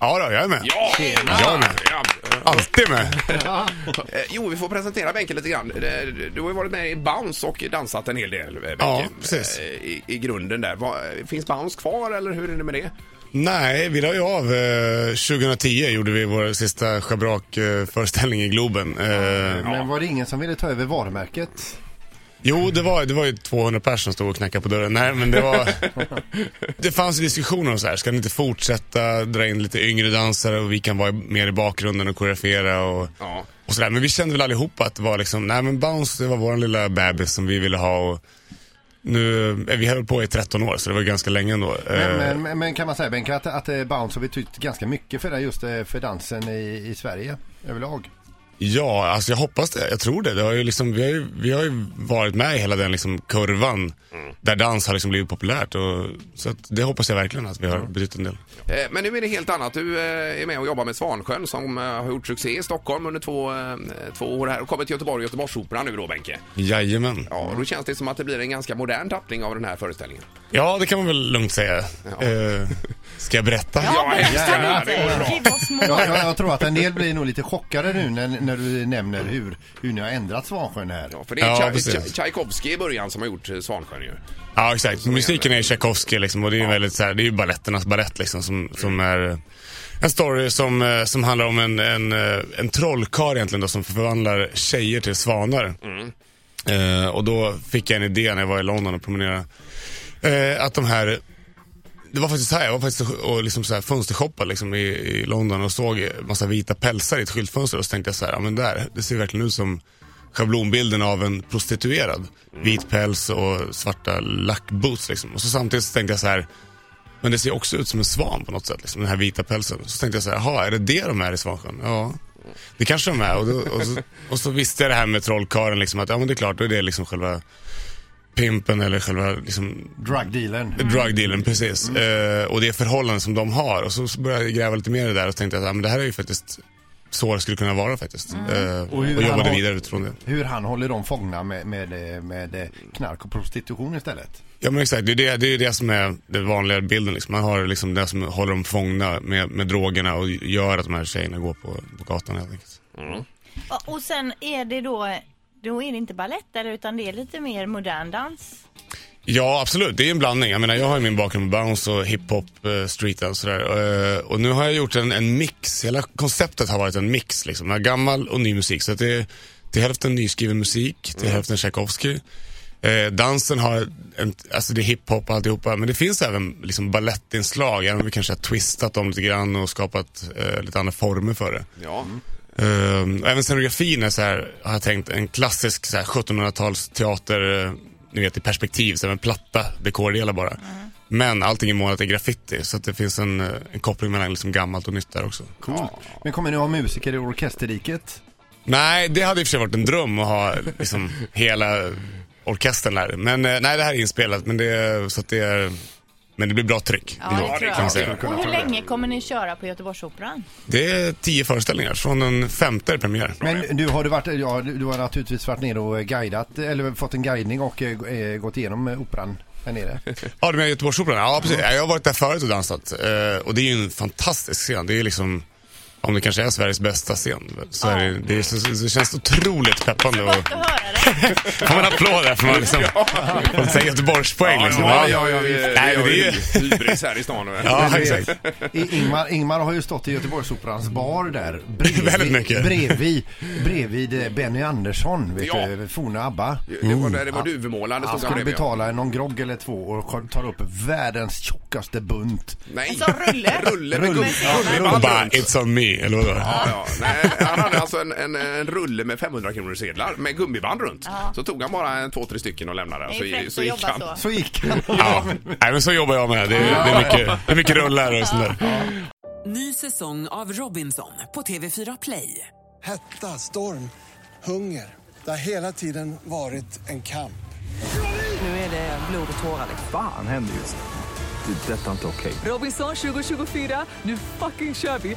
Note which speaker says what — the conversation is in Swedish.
Speaker 1: Ja då, jag är med. Jag är med.
Speaker 2: Ja.
Speaker 1: Alltid med.
Speaker 2: Eh, Jo, vi får presentera Benke lite grann. Eh, Du har ju varit med i Bounce och dansat en hel del, eh, Benke.
Speaker 1: Ja, precis.
Speaker 2: Eh, I, i grunden där. Va- eh, Finns Bounce kvar eller hur är det med det?
Speaker 1: Nej, vi la ju av. eh, 2010 gjorde vi vår sista schabrak-föreställning i Globen. Eh,
Speaker 3: Men var det ingen som ville ta över varumärket?
Speaker 1: Jo, det var, det var ju 200 personer som stod och knackade på dörren. Nej, men det var... Det fanns diskussioner om så här, ska ni inte fortsätta dra in lite yngre dansare och vi kan vara mer i bakgrunden och koreografera och,
Speaker 2: Ja.
Speaker 1: och sådär. Men vi kände väl allihopa att det var liksom, nej men Bounce, det var vår lilla bebis som vi ville ha och nu, eh, vi höll på i 13 år så det var ganska länge ändå. Eh,
Speaker 3: Men, men, men kan man säga Benke att, att eh, Bounce har betytt ganska mycket för, det, just eh, för dansen i, i Sverige överlag?
Speaker 1: Ja, alltså jag hoppas det. Jag tror det. det har ju liksom, vi, har ju, vi har ju varit med i hela den liksom kurvan
Speaker 2: Mm.
Speaker 1: där dans har liksom blivit populärt. Och, så att det hoppas jag verkligen att vi har betytt en del.
Speaker 2: Eh, Men nu är det helt annat. Du eh, är med och jobbar med Svansjön som eh, har gjort succé i Stockholm under två, eh, två år här och kommer till Göteborg och Göteborgsoperan nu då, Benke.
Speaker 1: Jajamän.
Speaker 2: Ja, och då känns det som att det blir en ganska modern tappning av den här föreställningen.
Speaker 1: Ja, det kan man väl lugnt säga.
Speaker 2: Ja.
Speaker 1: Eh, ska jag berätta?
Speaker 2: hemskt gärna. Det går bra.
Speaker 3: Jag, jag, jag tror att en del blir nog lite chockade nu när, när du nämner hur, hur ni har ändrat Svansjön här.
Speaker 2: Ja, för det är
Speaker 1: Ja,
Speaker 2: Tjaj-
Speaker 1: precis.
Speaker 2: Tjaj- Tchaikovsky i början som har gjort eh, Svansjön ju.
Speaker 1: Ja, exakt. Musiken är ju Tchaikovsky liksom, och det är ju väldigt så här, det är ju baletternas balett liksom som, som är en story som, eh, som handlar om en, en, eh, en trollkarl egentligen då, som förvandlar tjejer till svanar. Eh, och då fick jag en idé när jag var i London och promenerade. Eh, att de här det var faktiskt så här, jag var faktiskt och liksom så här fönstershoppade liksom i, i London och såg massa vita pälsar i ett skyltfönster och så tänkte jag så här, ja men där, det ser verkligen ut som schablonbilden av en prostituerad. Vit päls och svarta lackboots liksom. Och så samtidigt så tänkte jag så här, men det ser också ut som en svan på något sätt, liksom, den här vita pälsen. Så tänkte jag så här, jaha, är det det de är i Svansjön? Ja, det kanske de är. Och, då, och, så, och så visste jag det här med trollkarlen liksom, att ja men det är klart, då är det liksom själva pimpen eller själva liksom,
Speaker 3: Drugdealern.
Speaker 1: Drugdealern, precis.
Speaker 3: Mm.
Speaker 1: Eh, och det förhållande som de har. Och så så började jag gräva lite mer i det där och tänkte att ja, men det här är ju faktiskt så det skulle kunna vara faktiskt. Eh, och,
Speaker 3: Mm. Och hur han
Speaker 1: jobbade
Speaker 3: har-
Speaker 1: vidare utifrån det.
Speaker 3: Hur han håller dem fångna med, med, eh, med eh, knark och prostitution istället.
Speaker 1: Ja men exakt, det är det, det, är det som är den vanliga bilden. Liksom. Man har liksom det som håller dem fångna med, med drogerna och gör att de här tjejerna går på, på gatan helt enkelt.
Speaker 4: Ja, Och sen är det då, då är det inte balett eller utan det är lite mer modern dans.
Speaker 1: Ja, absolut. Det är en blandning. Jag menar, jag har ju min bakgrund med bounce och hiphop, eh, streetdance och sådär. Eh, Och nu har jag gjort en, en mix. Hela konceptet har varit en mix liksom. Med gammal och ny musik. Så att det är till hälften nyskriven musik, till hälften Tchaikovsky. Eh, dansen har, en, alltså det är hiphop och alltihopa. Men det finns även liksom balettinslag. Även om vi kanske har twistat dem lite grann och skapat eh, lite andra former för det.
Speaker 2: Ja.
Speaker 1: Ehm, och även scenografin är så här, har jag tänkt, en klassisk så här 1700-tals teater, eh, ni vet i perspektiv, så här, med platta dekordelar bara.
Speaker 4: Mm.
Speaker 1: Men allting är målat i graffiti, så att det finns en, eh, en koppling mellan liksom gammalt och nytt där också.
Speaker 3: Coolt. Men kommer ni ha musiker i orkesterriket?
Speaker 1: Nej, det hade i och för sig varit en dröm att ha liksom hela orkestern där. Men eh, nej, det här är inspelat, men det, så att det är... Men det blir bra tryck.
Speaker 4: Ja, det tror jag.
Speaker 1: kan man säga.
Speaker 4: Och hur länge kommer ni köra på Göteborgsoperan?
Speaker 1: det är tio föreställningar, från den femte är premiär.
Speaker 3: Men du har, du, varit, ja, du du har naturligtvis varit nere och guidat, eller fått en guidning och eh, eh, gått igenom eh, operan här nere.
Speaker 1: Ja, du menar Göteborgsoperan? Ja, precis. Jag har varit där förut och dansat. Eh, och det är ju en fantastisk scen. Det är liksom, om det kanske är Sveriges bästa scen, så är det, det, är, så, så, det känns otroligt peppande. Och,
Speaker 4: Gott att höra det.
Speaker 1: får man applåder för man liksom, får säga Göteborgspoäng liksom. Nej, men det är ju...
Speaker 2: hybris här i stan.
Speaker 1: Ja, exakt.
Speaker 3: I- Ingmar, Ingmar har ju stått i Göteborgsoperans bar där. Bredvid,
Speaker 1: Väldigt mycket.
Speaker 3: Bredvid, bredvid eh, Benny Andersson, vet
Speaker 2: Ja.
Speaker 3: du, forna ABBA.
Speaker 2: Det var, där det var duvemålande
Speaker 3: Mm. Han
Speaker 2: stod
Speaker 3: skulle
Speaker 2: bredvid.
Speaker 3: betala någon grogg eller två och tar upp världens tjockaste bunt.
Speaker 2: Nej.
Speaker 4: Alltså rulle.
Speaker 2: Rulle med
Speaker 3: Rulle.
Speaker 2: guld.
Speaker 3: Ja,
Speaker 2: Ja,
Speaker 1: Och bara, it's on me, eller vadå?
Speaker 2: Ja, ja. Nej, han hade alltså en, en, en rulle med 500 kronor sedlar med gummiband runt. Så tog han bara en, två, tre stycken och lämnade. den.
Speaker 4: Det
Speaker 2: Så,
Speaker 4: är
Speaker 2: Alltså, i-
Speaker 4: fräckt
Speaker 2: så
Speaker 4: att
Speaker 2: gick
Speaker 4: jobba
Speaker 2: han.
Speaker 4: så.
Speaker 3: Så gick han.
Speaker 1: Ja. Nej, men så jobbar jag med. Det är, det är, mycket, det är mycket rullar och sånt där.
Speaker 5: Ny säsong av Robinson på TV4 Play.
Speaker 6: Hetta, storm, hunger. Det har hela tiden varit en kamp.
Speaker 5: Nu är det blod och tårar. Liksom.
Speaker 7: Fan händer just nu? Det. är Detta är inte okej.
Speaker 5: Robinson 2024, nu fucking kör vi!